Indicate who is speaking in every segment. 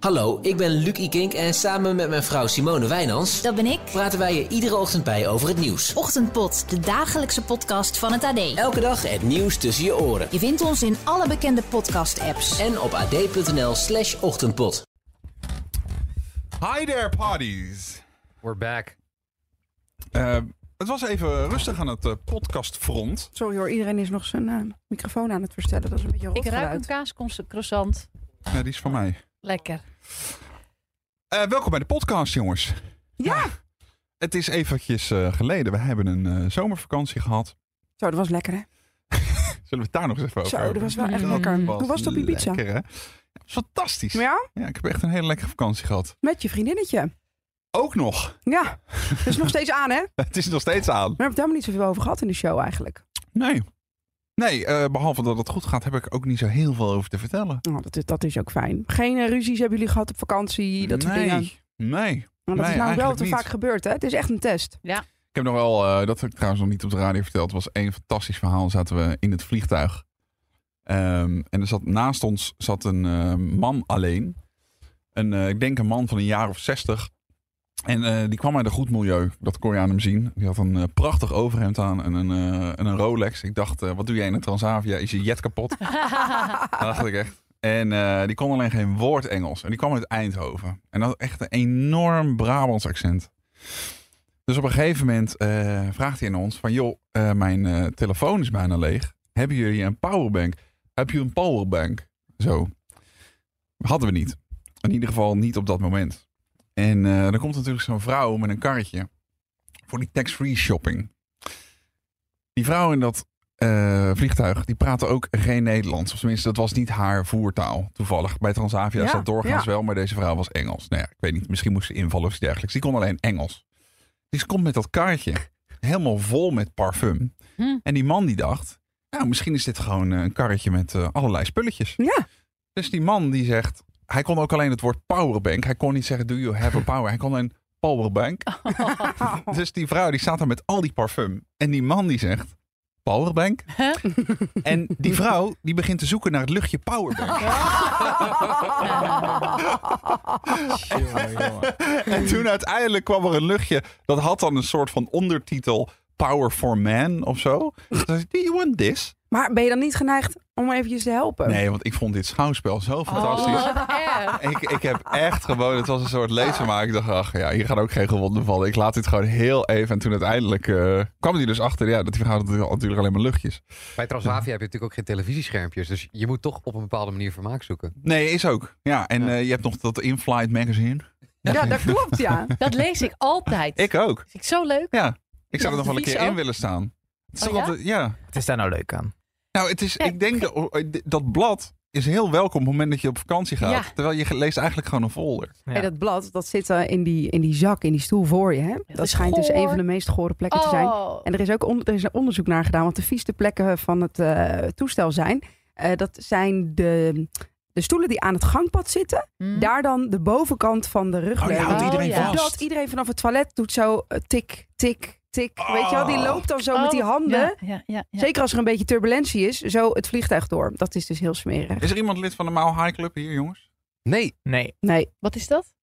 Speaker 1: Hallo, ik ben Luc Ikink en samen met mijn vrouw Simone Wijnands
Speaker 2: Dat ben ik.
Speaker 1: praten wij je iedere ochtend bij over het nieuws.
Speaker 2: Ochtendpot, de dagelijkse podcast van het AD.
Speaker 1: Elke dag het nieuws tussen je oren.
Speaker 2: Je vindt ons in alle bekende podcast-apps.
Speaker 1: En op ad.nl slash ochtendpot.
Speaker 3: Hi there, parties.
Speaker 4: We're back.
Speaker 3: Eh, het was even rustig aan het eh, podcastfront.
Speaker 5: Sorry hoor, iedereen is nog zijn eh, microfoon aan het verstellen. Dat is een beetje rot
Speaker 6: Ik ruik een
Speaker 5: geluid.
Speaker 6: kaascroissant.
Speaker 3: Ja, die is van mij.
Speaker 6: Lekker.
Speaker 3: Eh, welkom bij de podcast, jongens.
Speaker 5: Ja!
Speaker 3: Het is eventjes eh, geleden. We hebben een eh, zomervakantie gehad.
Speaker 5: Zo, dat was lekker hè?
Speaker 3: Zullen we het daar nog eens even over
Speaker 5: Zo, dat
Speaker 3: hebben?
Speaker 5: was wel echt
Speaker 6: Mm.
Speaker 5: lekker. Hoe was het op Ibiza?
Speaker 3: Lekker, hè? Dat was fantastisch. Ja.
Speaker 5: Ja,
Speaker 3: ik heb echt een hele lekkere vakantie gehad.
Speaker 5: met je vriendinnetje.
Speaker 3: Ook nog.
Speaker 5: Ja, dat is nog steeds aan hè? We
Speaker 3: Het is nog steeds aan.
Speaker 5: hebben het helemaal niet zoveel over gehad in de show eigenlijk.
Speaker 3: Nee. Nee, eh, behalve dat het goed gaat, heb ik ook niet zo heel veel over te vertellen.
Speaker 5: Oh, dat, is, dat is ook fijn. Geen eh, ruzies hebben jullie gehad op vakantie, dat soort
Speaker 3: nee.
Speaker 5: dingen.
Speaker 3: Nee.
Speaker 5: Want
Speaker 3: Nee,
Speaker 5: dat is nou wel
Speaker 3: eigenlijk
Speaker 5: te
Speaker 3: niet.
Speaker 5: vaak gebeurd hè? Het is echt een test.
Speaker 3: Ik heb nog wel, eh, dat heb ik trouwens nog niet op de radio verteld, was één fantastisch verhaal. Zaten we in het vliegtuig. Ehm, en er zat naast ons zat een eh, man alleen. Een, eh, ik denk een man van een jaar of zestig. En eh, die kwam uit een goed milieu. Dat kon je aan hem zien. Die had een eh, prachtig overhemd aan en een, eh, en een Rolex. Ik dacht, eh, wat doe jij in een Transavia? Is je jet kapot? dat dacht ik echt. En eh, die kon alleen geen woord Engels. En die kwam uit Eindhoven. En dat had echt een enorm Brabants accent. Dus op een gegeven moment eh, vraagt hij aan ons van... joh, eh, mijn eh, telefoon is bijna leeg. Hebben jullie een powerbank? Heb je een powerbank? Zo. Hadden we niet. In ieder geval niet op dat moment. En eh, dan komt natuurlijk zo'n vrouw met een karretje... voor die tax-free shopping. Die vrouw in dat eh, vliegtuig, die praatte ook geen Nederlands. Of tenminste, dat was niet haar voertaal, toevallig. Bij Transavia is
Speaker 5: Ja,
Speaker 3: dat doorgaans
Speaker 5: ja.
Speaker 3: wel, maar deze vrouw was Engels. Nou ja, ik weet niet, misschien moest ze invallen of iets dergelijks. Die kon alleen Engels. Dus ze komt met dat kaartje helemaal vol met parfum.
Speaker 6: Hm.
Speaker 3: En die man die dacht, nou misschien is dit gewoon eh, een karretje met eh, allerlei spulletjes.
Speaker 5: Ja,
Speaker 3: Dus die man die zegt, hij kon ook alleen het woord powerbank. Hij kon niet zeggen, do you have a power? Hij kon alleen powerbank. Dus die vrouw die staat daar met al die parfum. En die man die zegt, powerbank? En die vrouw die begint te zoeken naar het luchtje powerbank. En toen uiteindelijk kwam er een luchtje. Dat had dan een soort van ondertitel Power for Man of zo. Dus hij zei, Do you want this?
Speaker 5: maar ben je dan niet geneigd om eventjes te helpen?
Speaker 3: Nee, want ik vond dit schouwspel zo fantastisch. Ik, ik heb echt gewoon, het was een soort lezen, maar ik dacht, ach ja, hier gaan ook geen gewonden vallen. Ik laat dit gewoon heel even. En toen uiteindelijk eh, kwam hij dus achter, ja, dat die vrouw had natuurlijk alleen maar luchtjes.
Speaker 4: Bij Transavia heb je natuurlijk ook geen televisieschermpjes. Dus je moet toch op een bepaalde manier vermaak zoeken.
Speaker 3: Nee, is ook. Ja, en eh, je hebt nog dat in-flight magazine.
Speaker 5: Ja, dat klopt ja.
Speaker 6: Dat lees ik altijd.
Speaker 3: Ik ook.
Speaker 6: Vind ik zo leuk.
Speaker 3: Ja, ik zou
Speaker 6: Ja,
Speaker 3: er nog wel een
Speaker 6: vies
Speaker 3: keer
Speaker 6: ook.
Speaker 3: in willen staan. Het is
Speaker 6: Oh,
Speaker 3: toch
Speaker 6: ja?
Speaker 3: altijd- ja.
Speaker 7: Wat is daar nou leuk aan?
Speaker 3: Nou, het is,
Speaker 6: Nee.
Speaker 3: ik denk dat, oh, eh, dat blad is heel welkom op het moment dat je op vakantie gaat.
Speaker 6: Ja.
Speaker 3: Terwijl je leest eigenlijk gewoon een folder.
Speaker 5: Hey, dat blad, dat zit eh, in, die, in die zak, in die stoel voor je. Hè? dat
Speaker 6: is
Speaker 5: schijnt dus
Speaker 6: goor.
Speaker 5: een van de meest gore plekken te zijn.
Speaker 6: Oh.
Speaker 5: En er is ook on- er is een onderzoek naar gedaan, want de vieste plekken van het eh, toestel zijn. eh, dat zijn de, de stoelen die aan het gangpad zitten.
Speaker 6: Hm.
Speaker 5: Daar dan de bovenkant van de rugleuning.
Speaker 6: Oh, houdt iedereen ja.
Speaker 5: Zodat iedereen vanaf het toilet doet zo eh, tik, tik, tik. Weet je wel, die loopt dan zo
Speaker 6: Oh,
Speaker 5: met die handen.
Speaker 6: Ja, ja, ja, ja.
Speaker 5: Zeker als er een beetje turbulentie is, zo het vliegtuig door. Dat is dus heel smerig.
Speaker 3: Is er iemand lid van de Mile High Club hier, jongens?
Speaker 4: Nee.
Speaker 7: Nee.
Speaker 5: Nee,
Speaker 6: Wat is dat?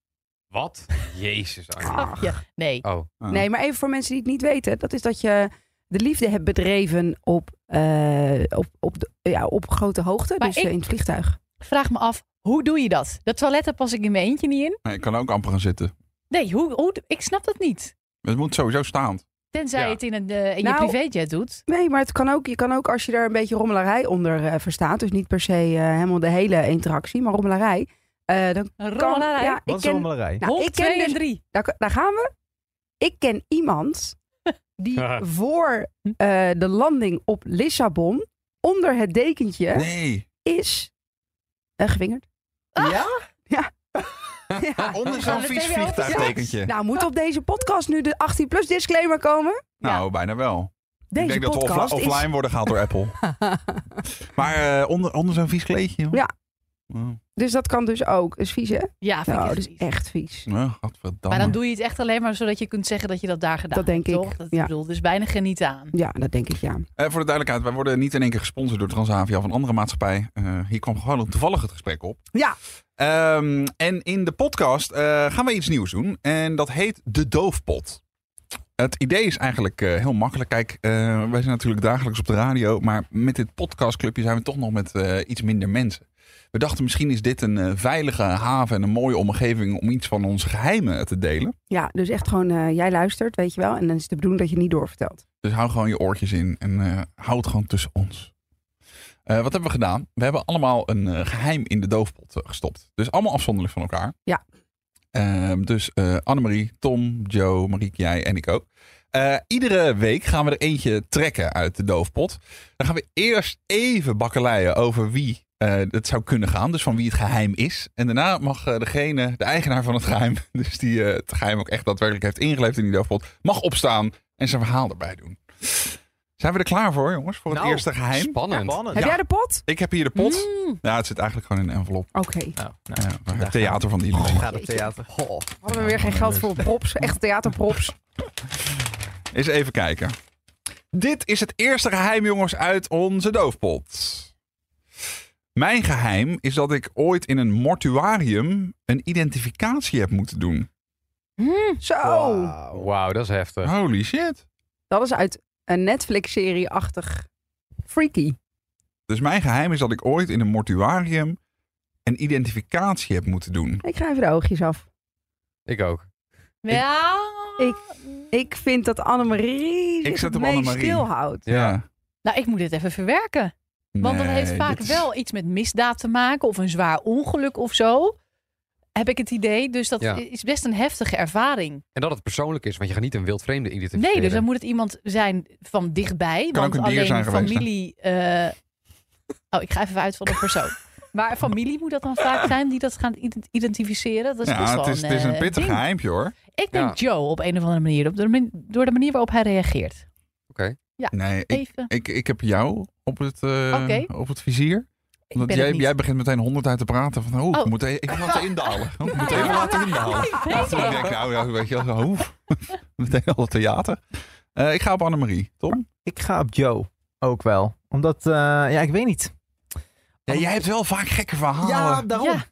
Speaker 4: Wat? Jezus. Arjen.
Speaker 5: Ach.
Speaker 6: Ja. Nee.
Speaker 4: Oh.
Speaker 3: Ah.
Speaker 5: Nee, maar even voor mensen die het niet weten. Dat is dat je de liefde hebt bedreven op, eh, op, op, de- ja, op grote hoogte.
Speaker 6: Maar
Speaker 5: dus
Speaker 6: ik-
Speaker 5: eh, in het vliegtuig.
Speaker 6: Vraag me af, hoe doe je dat? Dat toilet daar pas ik in mijn eentje niet in.
Speaker 3: Nee, ik kan ook amper gaan zitten.
Speaker 6: Nee, hoe, hoe, ik snap dat niet.
Speaker 3: Het moet sowieso staand.
Speaker 6: Tenzij
Speaker 4: Ja.
Speaker 6: je het in, een, eh, in
Speaker 5: Nou,
Speaker 6: je privéjet doet.
Speaker 5: Nee, maar het kan ook, je kan ook als je daar een beetje rommelarij onder eh, verstaat. Dus niet per se eh, helemaal de hele interactie, maar rommelarij. eh, dan
Speaker 6: Een
Speaker 5: kan,
Speaker 6: rollerij.
Speaker 5: Ja, ik
Speaker 7: Wat is
Speaker 5: ken,
Speaker 7: rommelarij?
Speaker 5: nou,
Speaker 6: Honk
Speaker 5: ik ken
Speaker 6: twee en
Speaker 5: dus-
Speaker 6: drie.
Speaker 5: daar, daar gaan we. Ik ken iemand die voor eh, de landing op Lissabon onder het dekentje
Speaker 3: Nee.
Speaker 5: is eh, gewingerd.
Speaker 3: Ja?
Speaker 5: Ja. Ja.
Speaker 3: Onder
Speaker 6: Gaan
Speaker 3: zo'n
Speaker 6: Ah. we
Speaker 3: vies
Speaker 6: tegen je
Speaker 3: vliegtuigtekentje.
Speaker 5: Nou, moet op deze podcast nu de 18 plus disclaimer komen?
Speaker 3: Nou, bijna wel.
Speaker 5: Deze
Speaker 3: ik denk dat we
Speaker 5: podcast
Speaker 3: offli- offline worden gehaald door Apple. maar eh, onder, onder zo'n vies kleedje, joh.
Speaker 5: Ja.
Speaker 3: Oh,
Speaker 5: is... Dus dat kan dus ook. Is vies, hè?
Speaker 6: Ja, vind ik
Speaker 5: Nou,
Speaker 6: echt
Speaker 5: dat is
Speaker 6: vies.
Speaker 5: echt vies.
Speaker 3: nou, godverdamme.
Speaker 6: Maar dan doe je het echt alleen maar zodat je kunt zeggen dat je dat daar gedaan
Speaker 5: Dat denk
Speaker 6: hebt,
Speaker 5: ik,
Speaker 6: toch? Dat,
Speaker 5: ja.
Speaker 6: ik bedoel, dus weinig geniet aan.
Speaker 5: Ja, dat denk ik, ja.
Speaker 3: Eh, voor de duidelijkheid, wij worden niet in één keer gesponsord door Transavia of een andere maatschappij. Eh, hier kwam gewoon toevallig het gesprek op.
Speaker 5: Ja.
Speaker 3: Ehm, en in de podcast eh, gaan we iets nieuws doen. En dat heet De Doofpot. Het idee is eigenlijk eh, heel makkelijk. Kijk, eh, wij zijn natuurlijk dagelijks op de radio. Maar met dit podcastclubje zijn we toch nog met eh, iets minder mensen. We dachten misschien is dit een eh, veilige haven en een mooie omgeving om iets van onze geheimen te delen.
Speaker 5: Ja, dus echt gewoon, eh, jij luistert, weet je wel. En dan is het de bedoeling dat je niet doorvertelt.
Speaker 3: Dus hou gewoon je oortjes in en eh hou het gewoon tussen ons. Eh, wat hebben we gedaan? We hebben allemaal een eh, geheim in de doofpot eh, gestopt. Dus allemaal afzonderlijk van elkaar.
Speaker 5: Ja.
Speaker 3: Ehm, dus eh, Annemarie, Tom, Joe, Marieke, jij en ik ook. Eh, iedere week gaan we er eentje trekken uit de doofpot. Dan gaan we eerst even bakkeleien over wie eh het zou kunnen gaan. Dus van wie het geheim is. En daarna mag eh, degene, de eigenaar van het geheim, dus die eh, het geheim ook echt daadwerkelijk heeft ingeleefd in die doofpot, mag opstaan en zijn verhaal erbij doen. Zijn we er klaar voor, jongens? Voor het
Speaker 7: Nou,
Speaker 3: eerste geheim?
Speaker 4: Spannend.
Speaker 7: Spannend.
Speaker 5: Heb jij de pot?
Speaker 3: Ik heb hier de pot.
Speaker 6: Mm.
Speaker 3: Ja, het zit eigenlijk gewoon in een envelop.
Speaker 5: Oké.
Speaker 7: Nou, nou,
Speaker 3: Ja,
Speaker 7: vandaag
Speaker 3: het theater van die
Speaker 7: gaat het theater.
Speaker 4: Goh.
Speaker 5: Hadden we weer geen geld voor props, echt theaterprops.
Speaker 3: Eens even kijken. Dit is het eerste geheim, jongens, uit onze doofpot. Mijn geheim is dat ik ooit in een mortuarium een identificatie heb moeten doen.
Speaker 6: Hmm.
Speaker 5: Zo!
Speaker 4: Wauw, dat is heftig.
Speaker 3: Holy shit.
Speaker 5: Dat is uit een Netflix-serie-achtig freaky.
Speaker 3: Dus mijn geheim is dat ik ooit in een mortuarium een identificatie heb moeten doen.
Speaker 5: Ik ga even de oogjes af.
Speaker 4: Ik ook.
Speaker 6: Ja.
Speaker 5: Ik- Ik vind dat Annemarie
Speaker 3: Ik
Speaker 5: ik
Speaker 3: zet
Speaker 5: het
Speaker 3: hem
Speaker 5: meest
Speaker 3: Annemarie.
Speaker 5: stilhoudt.
Speaker 6: Nou, ik moet dit even verwerken. Want dat heeft
Speaker 3: Nee,
Speaker 6: vaak
Speaker 3: dit is-
Speaker 6: wel iets met misdaad te maken of een zwaar ongeluk of zo. Heb ik het idee. Dus dat
Speaker 4: Ja.
Speaker 6: is best een heftige ervaring.
Speaker 4: En dat het persoonlijk is, want je gaat niet een wild vreemde identificeren.
Speaker 6: Nee, dus dan moet het iemand zijn van dichtbij.
Speaker 3: Kan
Speaker 6: want
Speaker 3: ook een dier zijn
Speaker 6: alleen
Speaker 3: geweest, hè?
Speaker 6: familie. eh, Oh, ik ga even uit van de persoon. Maar familie moet dat dan vaak zijn die dat gaan ident- identificeren. Dat is best
Speaker 3: Ja,
Speaker 6: wel
Speaker 3: het is,
Speaker 6: een,
Speaker 3: het is een
Speaker 6: eh,
Speaker 3: pittig
Speaker 6: ding.
Speaker 3: geheimpje hoor.
Speaker 6: Ik denk Joe op een of andere manier. Op de, min- door de manier waarop hij reageert.
Speaker 3: Nee, ik,
Speaker 6: Even.
Speaker 3: ik, ik heb jou op het, eh,
Speaker 6: Oké.
Speaker 3: op het vizier.
Speaker 6: Ik
Speaker 3: Want
Speaker 6: ben
Speaker 3: jij,
Speaker 6: het niet.
Speaker 3: jij begint meteen honderd uit te praten van, oh, ik
Speaker 6: Oh.
Speaker 3: moet e- even laten indalen. Oh, Ik moet even laten indalen.
Speaker 6: weet
Speaker 3: Toen denk ik, nou ja, weet je wel, zo, oef. meteen al het theater. Eh, ik ga op Annemarie, Tom.
Speaker 7: Ik ga op Joe ook wel. Omdat, eh, ja, ik weet niet.
Speaker 3: Ja, jij hebt wel vaak gekke verhalen.
Speaker 7: Ja, daarom.
Speaker 3: Oh.
Speaker 6: Ja.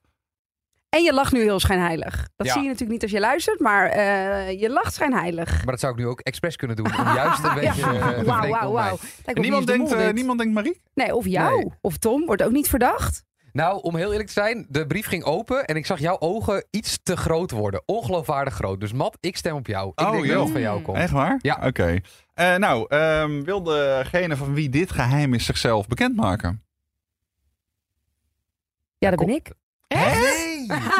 Speaker 5: En je lacht nu heel schijnheilig. Dat
Speaker 4: Ja.
Speaker 5: zie je natuurlijk niet als je luistert, maar eh, je lacht schijnheilig.
Speaker 4: Maar dat zou ik nu ook expres kunnen doen. Om juist een beetje... eh, te
Speaker 5: Wauw,
Speaker 4: denken
Speaker 5: wauw,
Speaker 4: om
Speaker 5: wauw.
Speaker 4: mij-
Speaker 5: Kijk,
Speaker 3: En
Speaker 5: op Wie
Speaker 3: niemand
Speaker 5: is de
Speaker 3: denkt,
Speaker 5: Mol
Speaker 3: eh,
Speaker 5: dit.
Speaker 3: niemand denkt Marie?
Speaker 5: Nee, of jou
Speaker 4: Nee.
Speaker 5: of Tom wordt ook niet verdacht.
Speaker 4: Nou, om heel eerlijk te zijn, de brief ging open en ik zag jouw ogen iets te groot worden. Ongeloofwaardig groot. Dus Matt, ik stem op jou. Ik
Speaker 3: Oh,
Speaker 4: denk
Speaker 3: joh.
Speaker 4: dat het van jou komt.
Speaker 3: Echt waar?
Speaker 4: Ja.
Speaker 3: Oké. Eh, nou, ehm, wil degene van wie dit geheim is zichzelf bekendmaken?
Speaker 5: Ja, dat ben ik.
Speaker 3: Hé?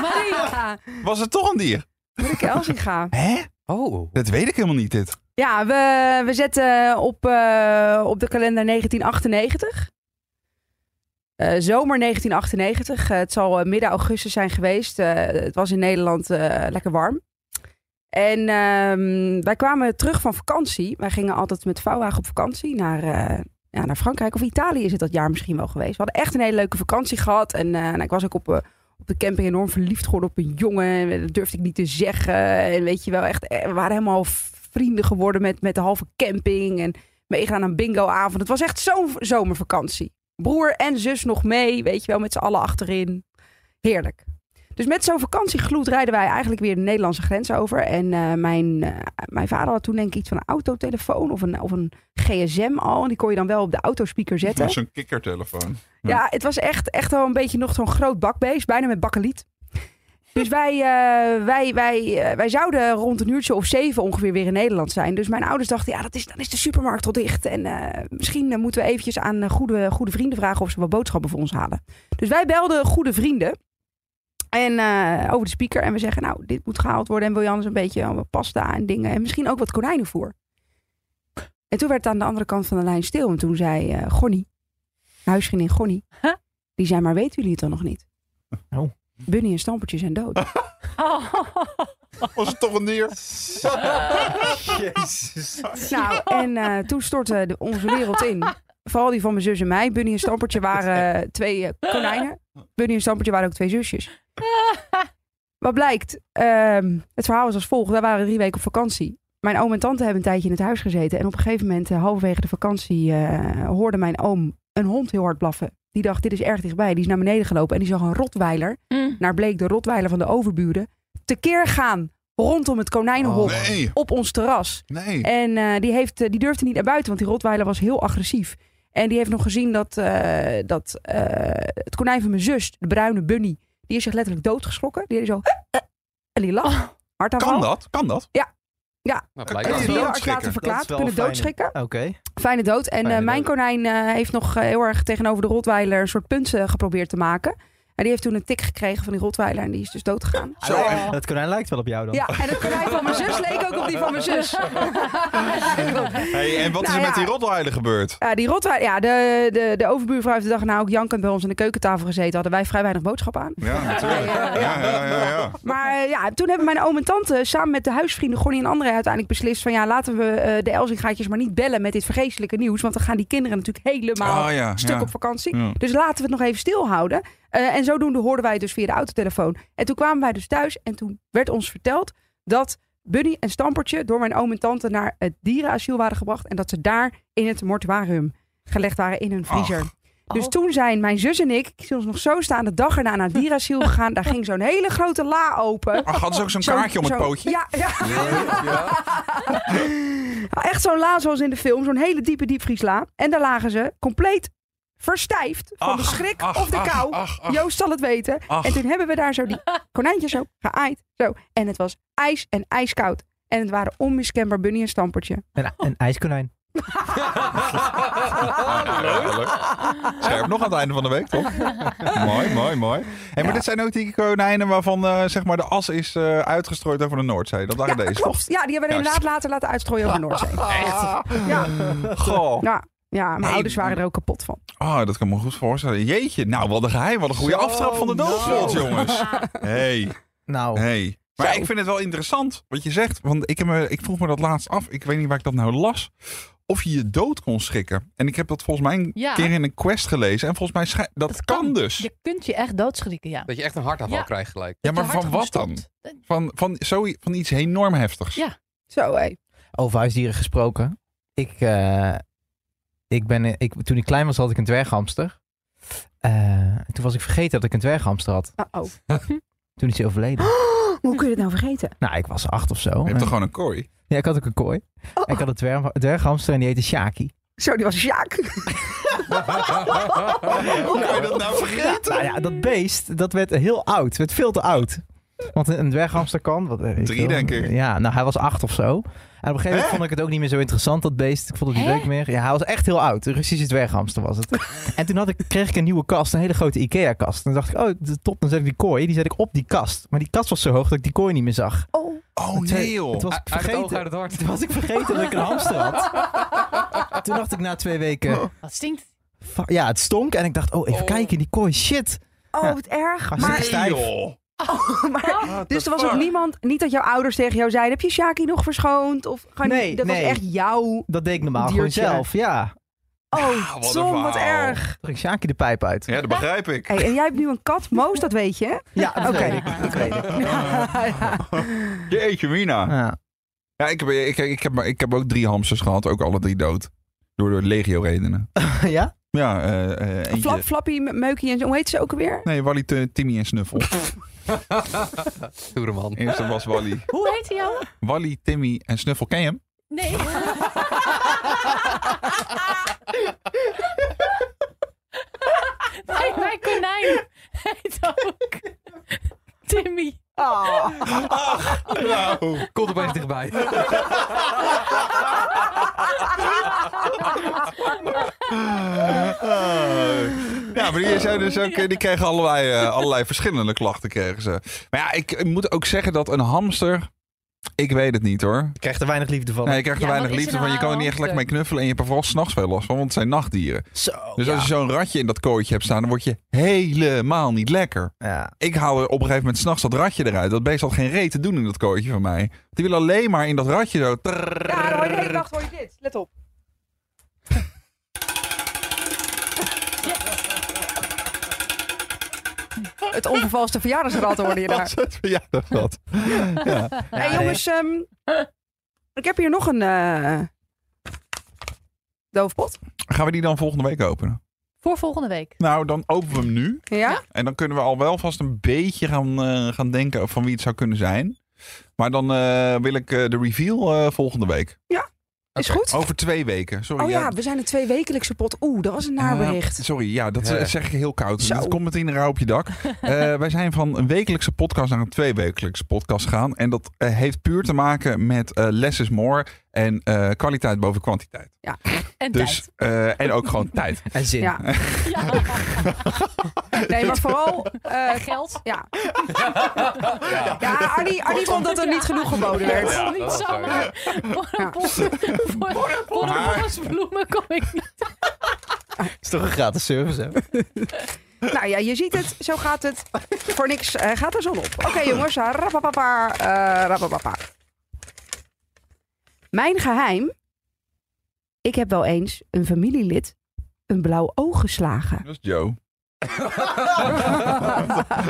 Speaker 5: Maria.
Speaker 3: Was het toch een dier?
Speaker 5: Marike Elsinga.
Speaker 3: Hè?
Speaker 4: Oh.
Speaker 3: Dat weet ik helemaal niet, dit.
Speaker 5: Ja, we, we zetten op, eh, op de kalender 1998. Eh, zomer 1998. Eh, het zal eh, midden augustus zijn geweest. Eh, het was in Nederland eh, lekker warm. En ehm, wij kwamen terug van vakantie. Wij gingen altijd met vouwwagen op vakantie naar, eh, ja, naar Frankrijk. Of Italië is het dat jaar misschien wel geweest. We hadden echt een hele leuke vakantie gehad. En eh, nou, ik was ook op, eh, op de camping enorm verliefd geworden op een jongen. En Dat durfde ik niet te zeggen. En weet je wel, echt, eh, we waren helemaal vrienden geworden met, met de halve camping. En meegaan aan bingoavond. Het was echt zo'n v- zomervakantie. Broer en zus nog mee, weet je wel, met z'n allen achterin. Heerlijk. Dus met zo'n vakantiegloed rijden wij eigenlijk weer de Nederlandse grens over. En eh, mijn, eh, mijn vader had toen denk ik iets van een autotelefoon of een, of een gsm al. En die kon je dan wel op de autospeaker zetten.
Speaker 3: Zo'n kikkertelefoon. Ja.
Speaker 5: Ja, het was echt, echt wel een beetje nog zo'n groot bakbeest, bijna met bakkeliet. Dus wij, eh, wij, wij, eh, wij zouden rond een uurtje of zeven ongeveer weer in Nederland zijn. Dus mijn ouders dachten, ja, dat is, dan is de supermarkt al dicht. En eh, misschien eh, moeten we eventjes aan eh, goede, goede vrienden vragen of ze wat boodschappen voor ons halen. Dus wij belden goede vrienden en, eh, over de speaker. En we zeggen, nou, dit moet gehaald worden. En wil je anders een beetje eh, wat pasta en dingen. En misschien ook wat konijnenvoer. En toen werd het aan de andere kant van de lijn stil. En toen zei eh Gonnie, mijn huisvriendin Gonnie. Die zei, maar weten jullie het dan nog niet?
Speaker 7: Oh.
Speaker 5: Bunny en Stampertje zijn dood.
Speaker 6: Oh.
Speaker 3: Was het toch een dier?
Speaker 5: nou, en eh, toen stortte de, onze wereld in. Vooral die van mijn zus en mij. Bunny en Stampertje waren eh, twee eh, konijnen. Bunny en Stampertje waren ook twee zusjes. Wat blijkt, ehm, het verhaal is als volgt. Wij waren drie weken op vakantie. Mijn oom en tante hebben een tijdje in het huis gezeten. En op een gegeven moment, eh, halverwege de vakantie, eh, hoorde mijn oom een hond heel hard blaffen. Die dacht, dit is erg dichtbij. Die is naar beneden gelopen en die zag een rotweiler, naar bleek de rotweiler van de overburen, tekeer gaan rondom het konijnenhof
Speaker 7: Oh.
Speaker 3: Nee,
Speaker 5: op ons terras.
Speaker 3: nee.
Speaker 5: En eh, die, heeft, eh, die durfde niet naar buiten, want die Rotweiler was heel agressief. En die heeft nog gezien dat, eh, dat eh, het konijn van mijn zus, de bruine bunny, die is zich letterlijk doodgeschrokken. Die is zo. eh, en die lag. Hartaanval.
Speaker 3: Kan dat? Kan dat?
Speaker 4: Nou,
Speaker 3: Kan
Speaker 4: blijkbaar
Speaker 7: je
Speaker 4: wel.
Speaker 5: Vier
Speaker 7: dat?
Speaker 5: arts
Speaker 7: Doodschrikken.
Speaker 5: later
Speaker 7: Dat
Speaker 5: verklaard,
Speaker 7: is wel
Speaker 5: kunnen
Speaker 7: fijn.
Speaker 5: doodschrikken.
Speaker 7: Oké.
Speaker 5: Fijne dood. En
Speaker 7: Fijne
Speaker 5: eh, mijn
Speaker 7: dood.
Speaker 5: konijn eh, heeft nog eh, heel erg tegenover de Rotweiler een soort punten geprobeerd te maken. En die heeft toen een tik gekregen van die Rotweiler en die is dus doodgegaan.
Speaker 7: Zo,
Speaker 6: Oh.
Speaker 7: en Dat konijn lijkt wel op jou dan.
Speaker 5: Ja, en het konijn van mijn zus leek ook op die van mijn zus.
Speaker 3: Hey, en wat is er
Speaker 5: Nou
Speaker 3: met
Speaker 5: ja.
Speaker 3: die rotweiler gebeurd?
Speaker 5: Ja, die rotwijn. Ja, de, de, de overbuurvrouw heeft de dag na ook jankend bij ons aan de keukentafel gezeten. Hadden wij vrij weinig boodschap aan.
Speaker 3: Ja, natuurlijk. Ja, ja, ja, ja.
Speaker 5: Maar eh, ja, toen hebben mijn oom en tante samen met de huisvrienden Gordy en anderen uiteindelijk beslist van ja, laten we eh, de Elzingaatjes maar niet bellen met dit vergeestelijke nieuws. Want dan gaan die kinderen natuurlijk helemaal
Speaker 3: Oh, ja,
Speaker 5: stuk
Speaker 3: ja.
Speaker 5: op vakantie.
Speaker 3: Ja.
Speaker 5: Dus laten we het nog even stilhouden. Eh, en zodoende hoorden wij het dus via de autotelefoon. En toen kwamen wij dus thuis en toen werd ons verteld dat Bunny en Stampertje door mijn oom en tante naar het dierenasiel waren gebracht. En dat ze daar in het mortuarium gelegd waren in hun vriezer. Dus
Speaker 6: Oh.
Speaker 5: toen zijn mijn zus en ik, ik zie ons nog zo staan, de dag erna naar het dierenasiel gegaan. Daar ging zo'n hele grote la open.
Speaker 3: Ach, hadden ze ook zo'n
Speaker 5: Zo'n-
Speaker 3: kaartje om het
Speaker 5: zo'n-
Speaker 3: pootje?
Speaker 5: Ja, ja. Nou,
Speaker 4: Ja.
Speaker 5: echt zo'n la zoals in de film. Zo'n hele diepe diepvriesla. En daar lagen ze compleet verstijfd van de
Speaker 3: Ach,
Speaker 5: schrik
Speaker 3: ach,
Speaker 5: of de
Speaker 3: ach,
Speaker 5: kou.
Speaker 3: ach, ach.
Speaker 5: Joost zal het weten.
Speaker 3: Ach.
Speaker 5: En toen hebben we daar zo die konijntjes zo geaaid. Zo. En het was ijs en ijskoud. En het waren onmiskenbaar Bunny en Stampertje.
Speaker 7: Een, een ijskonijn.
Speaker 3: Ah, Scherp nog aan het einde van de week, toch? mooi, mooi, mooi. Hey, maar dit zijn ook die konijnen waarvan eh, zeg maar de as is eh, uitgestrooid over de Noordzee. Oh, Dat waren
Speaker 5: ja,
Speaker 3: deze,
Speaker 5: klopt. Ja, die hebben we
Speaker 3: Juist.
Speaker 5: inderdaad later laten uitstrooien over de Noordzee.
Speaker 3: toch? Echt?
Speaker 5: Ja,
Speaker 3: Goh.
Speaker 5: ja, ja mijn
Speaker 3: Nee,
Speaker 5: ouders waren er ook kapot van.
Speaker 3: Oh, dat kan me goed voorstellen. Jeetje, nou wat een geheim. Wat een goede
Speaker 7: Zo,
Speaker 3: aftrap van de doodsvol,
Speaker 7: nou.
Speaker 3: jongens. Hey.
Speaker 7: Nou,
Speaker 3: Hey. Maar
Speaker 5: Zo.
Speaker 3: ik vind het wel interessant wat je zegt. Want ik, heb me, ik vroeg me dat laatst af. Ik weet niet waar ik dat nou las. Of je je dood kon schikken. En ik heb dat volgens mij een
Speaker 6: Ja.
Speaker 3: keer in een quest gelezen. En volgens mij schij- dat,
Speaker 6: Dat
Speaker 3: kan,
Speaker 6: kan.
Speaker 3: dus.
Speaker 6: Je kunt je echt doodschrikken, ja.
Speaker 4: Dat je echt een hartaanval
Speaker 6: Ja.
Speaker 4: krijgt gelijk.
Speaker 3: Ja,
Speaker 6: Dat je
Speaker 3: maar
Speaker 6: hart
Speaker 3: van wat
Speaker 6: gewoon
Speaker 3: dan?
Speaker 6: stopt.
Speaker 3: Van, van, zo, van iets enorm heftigs.
Speaker 6: Ja.
Speaker 5: Zo, hé.
Speaker 7: over huisdieren gesproken. Ik, eh, ik ben, ik, toen ik klein was had ik een dwerghamster. Eh, toen was ik vergeten dat ik een dwerghamster had.
Speaker 5: Uh-oh.
Speaker 7: Toen is hij overleden.
Speaker 5: Maar Hoe kun je dit nou vergeten?
Speaker 7: Nou, ik was acht of zo.
Speaker 3: Je hebt toch gewoon een kooi?
Speaker 7: Ja, ik had ook een kooi. En Ik had een dwerg, dwerghamster en die heette Shaki.
Speaker 5: Zo, die was Sjaak.
Speaker 3: Hoe kan je dat nou vergeten?
Speaker 7: Nou ja, dat beest, dat werd heel oud. werd veel te oud. Want een een dwerghamster kan... Wat, eh, weet
Speaker 3: Drie,
Speaker 7: je wel.
Speaker 3: denk ik.
Speaker 7: Ja, nou hij was acht of zo. En op een gegeven moment vond ik het ook niet meer zo interessant, dat beest. Ik vond het niet
Speaker 6: Hè?
Speaker 7: leuk meer. Ja, hij was echt heel oud. Een Russische dwerghamster was het. en toen had ik, kreeg ik een nieuwe kast, een hele grote Ikea-kast. En toen dacht ik, oh d- top, dan zet ik die kooi. Die zet ik op die kast. Maar die kast was zo hoog dat ik die kooi niet meer zag.
Speaker 5: Oh.
Speaker 3: Oh
Speaker 7: Het-
Speaker 3: nee joh.
Speaker 7: Het was ik
Speaker 4: Uit het oog,
Speaker 7: vergeten.
Speaker 4: uit het hart.
Speaker 7: Toen was ik vergeten dat ik een hamster had. Toen dacht ik na twee weken,
Speaker 6: Wat stinkt.
Speaker 7: fa- ja, het stonk. En ik dacht, oh, even
Speaker 4: Oh.
Speaker 7: kijken, die kooi, shit.
Speaker 5: Oh,
Speaker 7: Ja.
Speaker 5: wat erg.
Speaker 7: Ga
Speaker 5: Maar,
Speaker 7: zitten stijf.
Speaker 3: joh.
Speaker 5: maar,
Speaker 4: What
Speaker 5: dus
Speaker 4: the
Speaker 5: er was ook
Speaker 4: fuck?
Speaker 5: niemand, niet dat jouw ouders tegen jou zeiden, heb je Sjaakie nog verschoond? Of gewoon,
Speaker 7: Nee,
Speaker 5: dat
Speaker 7: nee.
Speaker 5: was echt jouw...
Speaker 7: Dat deed ik normaal gewoon
Speaker 5: Diertje.
Speaker 7: zelf, ja.
Speaker 5: Oh,
Speaker 3: wat
Speaker 5: wat
Speaker 3: een
Speaker 5: Tom, wat
Speaker 3: verhaal.
Speaker 5: erg.
Speaker 7: Toen ging Sjaakje de pijp uit.
Speaker 3: Ja, dat begrijp ik.
Speaker 5: Hey, en jij hebt nu een kat, Moos, dat weet je, hè?
Speaker 7: Ja, dat
Speaker 5: Oké.
Speaker 7: weet ik. Dat weet ik.
Speaker 3: Jeetje mina.
Speaker 7: Ja.
Speaker 3: Ja, ik heb, ik, ik, heb, ik heb ook drie hamsters gehad, ook alle drie dood. Door de legio-redenen.
Speaker 7: ja?
Speaker 3: Ja, eh eh, eentje.
Speaker 5: Flap, Flappy, M- Meukie en zo, hoe heet ze ook alweer?
Speaker 3: Nee, Wally, T- Timmy en Snuffel.
Speaker 4: Stoere man.
Speaker 3: Eerste was Wally.
Speaker 6: Hoe heet hij jou?
Speaker 3: Wally, Timmy en Snuffel, ken je hem?
Speaker 6: Nee. nee, mijn konijn heet ook Timmy.
Speaker 3: Nou.
Speaker 4: Komt opeens dichtbij.
Speaker 3: Ja, maar die, zijn dus ook, die kregen allerlei, eh, allerlei verschillende klachten. Kregen ze. Maar ja, ik, ik moet ook zeggen dat een hamster... Ik weet het niet hoor.
Speaker 7: Ik krijg er weinig liefde van.
Speaker 3: Nee, je krijgt er
Speaker 6: Ja,
Speaker 3: weinig
Speaker 6: wat is
Speaker 3: liefde
Speaker 6: er
Speaker 3: van. Je
Speaker 6: nou
Speaker 3: kan er niet
Speaker 6: aan
Speaker 3: echt lekker mee
Speaker 6: hamster?
Speaker 3: knuffelen. En je hebt er vooral s'nachts veel last van, want het zijn nachtdieren.
Speaker 7: Zo.
Speaker 3: Dus
Speaker 7: ja.
Speaker 3: als je zo'n ratje in dat kooitje hebt staan, dan word je helemaal niet lekker.
Speaker 7: Ja.
Speaker 3: ik haal er op een gegeven moment s'nachts dat ratje eruit. Dat beest had geen reet te doen in dat kooitje van mij. Die wil alleen maar in dat ratje zo. trrrr.
Speaker 5: Ja, dan hoor je de hele nacht hoor je dit. Let op. Het onvervalste verjaardagsrad hoorde je daar.
Speaker 3: Als het verjaardagsrad.
Speaker 5: Hé hey, jongens, ehm, ik heb hier nog een eh doofpot.
Speaker 3: Gaan we die dan volgende week openen?
Speaker 6: Voor volgende week.
Speaker 3: Nou, dan openen we hem nu.
Speaker 5: Ja?
Speaker 3: En dan kunnen we al wel vast een beetje gaan, eh, gaan denken van wie het zou kunnen zijn. Maar dan eh, wil ik eh, de reveal eh, volgende week.
Speaker 5: Is
Speaker 4: Oké.
Speaker 5: goed?
Speaker 3: Over twee weken. Sorry.
Speaker 5: Oh ja, we zijn een twee wekelijkse pot. Oeh, dat was een naar bericht.
Speaker 3: Eh, sorry, ja, dat
Speaker 4: Ja.
Speaker 3: eh, zeg ik heel koud.
Speaker 5: Zo.
Speaker 3: Dat komt meteen een rauw op je dak. Eh, wij zijn van een wekelijkse podcast naar een tweewekelijkse podcast gegaan. En dat eh, heeft puur te maken met eh less is more en eh, kwaliteit boven kwantiteit.
Speaker 6: En
Speaker 3: Dus, eh, en ook gewoon tijd.
Speaker 7: En zin.
Speaker 5: Ja.
Speaker 6: tijd. Ja,
Speaker 5: Nee, maar vooral... eh,
Speaker 6: en geld.
Speaker 5: ja. Ja, Arnie, Arnie vond dat er niet genoeg geboden
Speaker 6: Ja,
Speaker 5: werd.
Speaker 6: niet
Speaker 4: dat is waar,
Speaker 6: zomaar. Voor een bos- voor- Voor een
Speaker 3: Maar-
Speaker 6: bos bloemen kom ik niet.
Speaker 7: is toch een gratis service, hè?
Speaker 5: Nou ja, je ziet het. Zo gaat het. Voor niks eh, gaat de zon op. Oké jongens, rapapapa, eh rapapapa. Mijn geheim. Ik heb wel eens een familielid een blauw oog geslagen.
Speaker 3: Dat is Joe.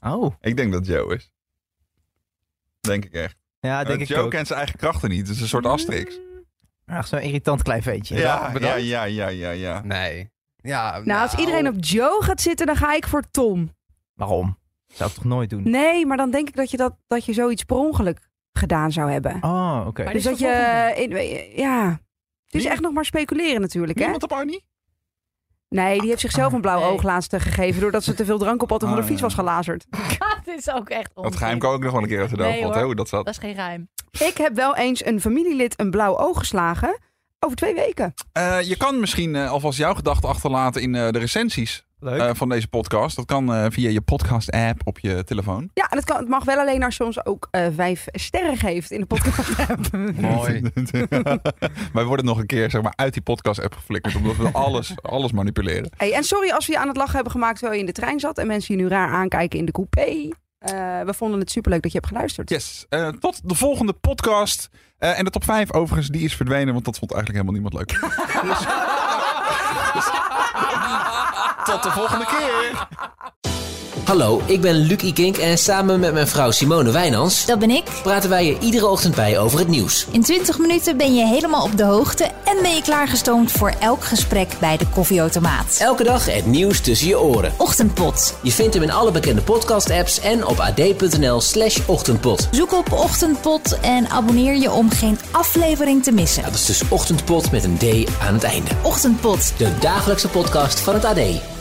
Speaker 7: Oh.
Speaker 3: Ik denk dat Joe is. Ah, Denk ik echt.
Speaker 7: Ja, denk
Speaker 3: Want
Speaker 7: ik
Speaker 3: Joe
Speaker 7: ook.
Speaker 3: kent zijn eigen krachten niet. Het is een soort Asterix.
Speaker 5: Mm.
Speaker 7: Ach, zo'n irritant klein ventje.
Speaker 3: Ja, ja,
Speaker 4: bedankt.
Speaker 3: ja, ja, ja. ja.
Speaker 4: Nee. Ja,
Speaker 5: Nou, als iedereen op Joe gaat zitten, dan ga ik voor Tom.
Speaker 7: Waarom? Zou ik toch nooit doen?
Speaker 5: Nee, maar dan denk ik dat je, dat, dat je zoiets per ongeluk gedaan zou hebben.
Speaker 7: Oh, oké.
Speaker 6: Maar
Speaker 5: dus
Speaker 6: dit
Speaker 5: dat
Speaker 6: is
Speaker 5: je...
Speaker 6: vervolgens
Speaker 5: in- ja. Het is
Speaker 3: Wie?
Speaker 5: echt nog maar speculeren natuurlijk, hè?
Speaker 3: Niemand op Arnie?
Speaker 5: Nee, die heeft zichzelf een blauw
Speaker 6: Nee.
Speaker 5: oog laatst eh, gegeven... doordat ze te veel drank op had en van
Speaker 3: Ah,
Speaker 5: de fiets
Speaker 3: ja.
Speaker 5: was gelazerd.
Speaker 6: Dat is ook echt onzin.
Speaker 3: Dat geheim kan ook nog wel een keer uit de dood.
Speaker 6: Nee,
Speaker 3: want
Speaker 6: hoor.
Speaker 3: hoe dat zat.
Speaker 6: Dat is geen geheim.
Speaker 5: Ik heb wel eens een familielid een blauw oog geslagen... over twee weken.
Speaker 3: Eh, je kan misschien eh, alvast jouw gedachten achterlaten in eh, de recensies
Speaker 7: Leuk.
Speaker 3: eh, van deze podcast. Dat kan eh, via je podcast-app op je telefoon.
Speaker 5: Ja, en het, kan, het mag wel alleen als je ons ook eh, vijf sterren geeft in de podcast.
Speaker 4: Mooi.
Speaker 3: Wij worden nog een keer zeg maar, uit die podcast-app geflikkerd. Omdat we alles, alles manipuleren.
Speaker 5: hey, en sorry als we je aan het lachen hebben gemaakt terwijl je in de trein zat... en mensen je nu raar aankijken in de coupé. Eh, we vonden het superleuk dat je hebt geluisterd.
Speaker 3: Yes. Eh, tot de volgende podcast. Eh, en de top 5 overigens, die is verdwenen. Want dat vond eigenlijk helemaal niemand leuk. Dus- dus- tot de volgende keer.
Speaker 1: Hallo, ik ben Luc Ikink en samen met mijn vrouw Simone Wijnands
Speaker 2: Dat ben ik.
Speaker 1: praten wij je iedere ochtend bij over het nieuws.
Speaker 2: In 20 minuten ben je helemaal op de hoogte en ben je klaargestoomd voor elk gesprek bij de koffieautomaat.
Speaker 1: Elke dag het nieuws tussen je oren.
Speaker 2: Ochtendpot.
Speaker 1: Je vindt hem in alle bekende podcast-apps en op ad.nl slash ochtendpot.
Speaker 2: Zoek op Ochtendpot en abonneer je om geen aflevering te missen.
Speaker 1: Dat is dus ochtendpot met een D aan het einde.
Speaker 2: Ochtendpot.
Speaker 1: De dagelijkse podcast van het AD.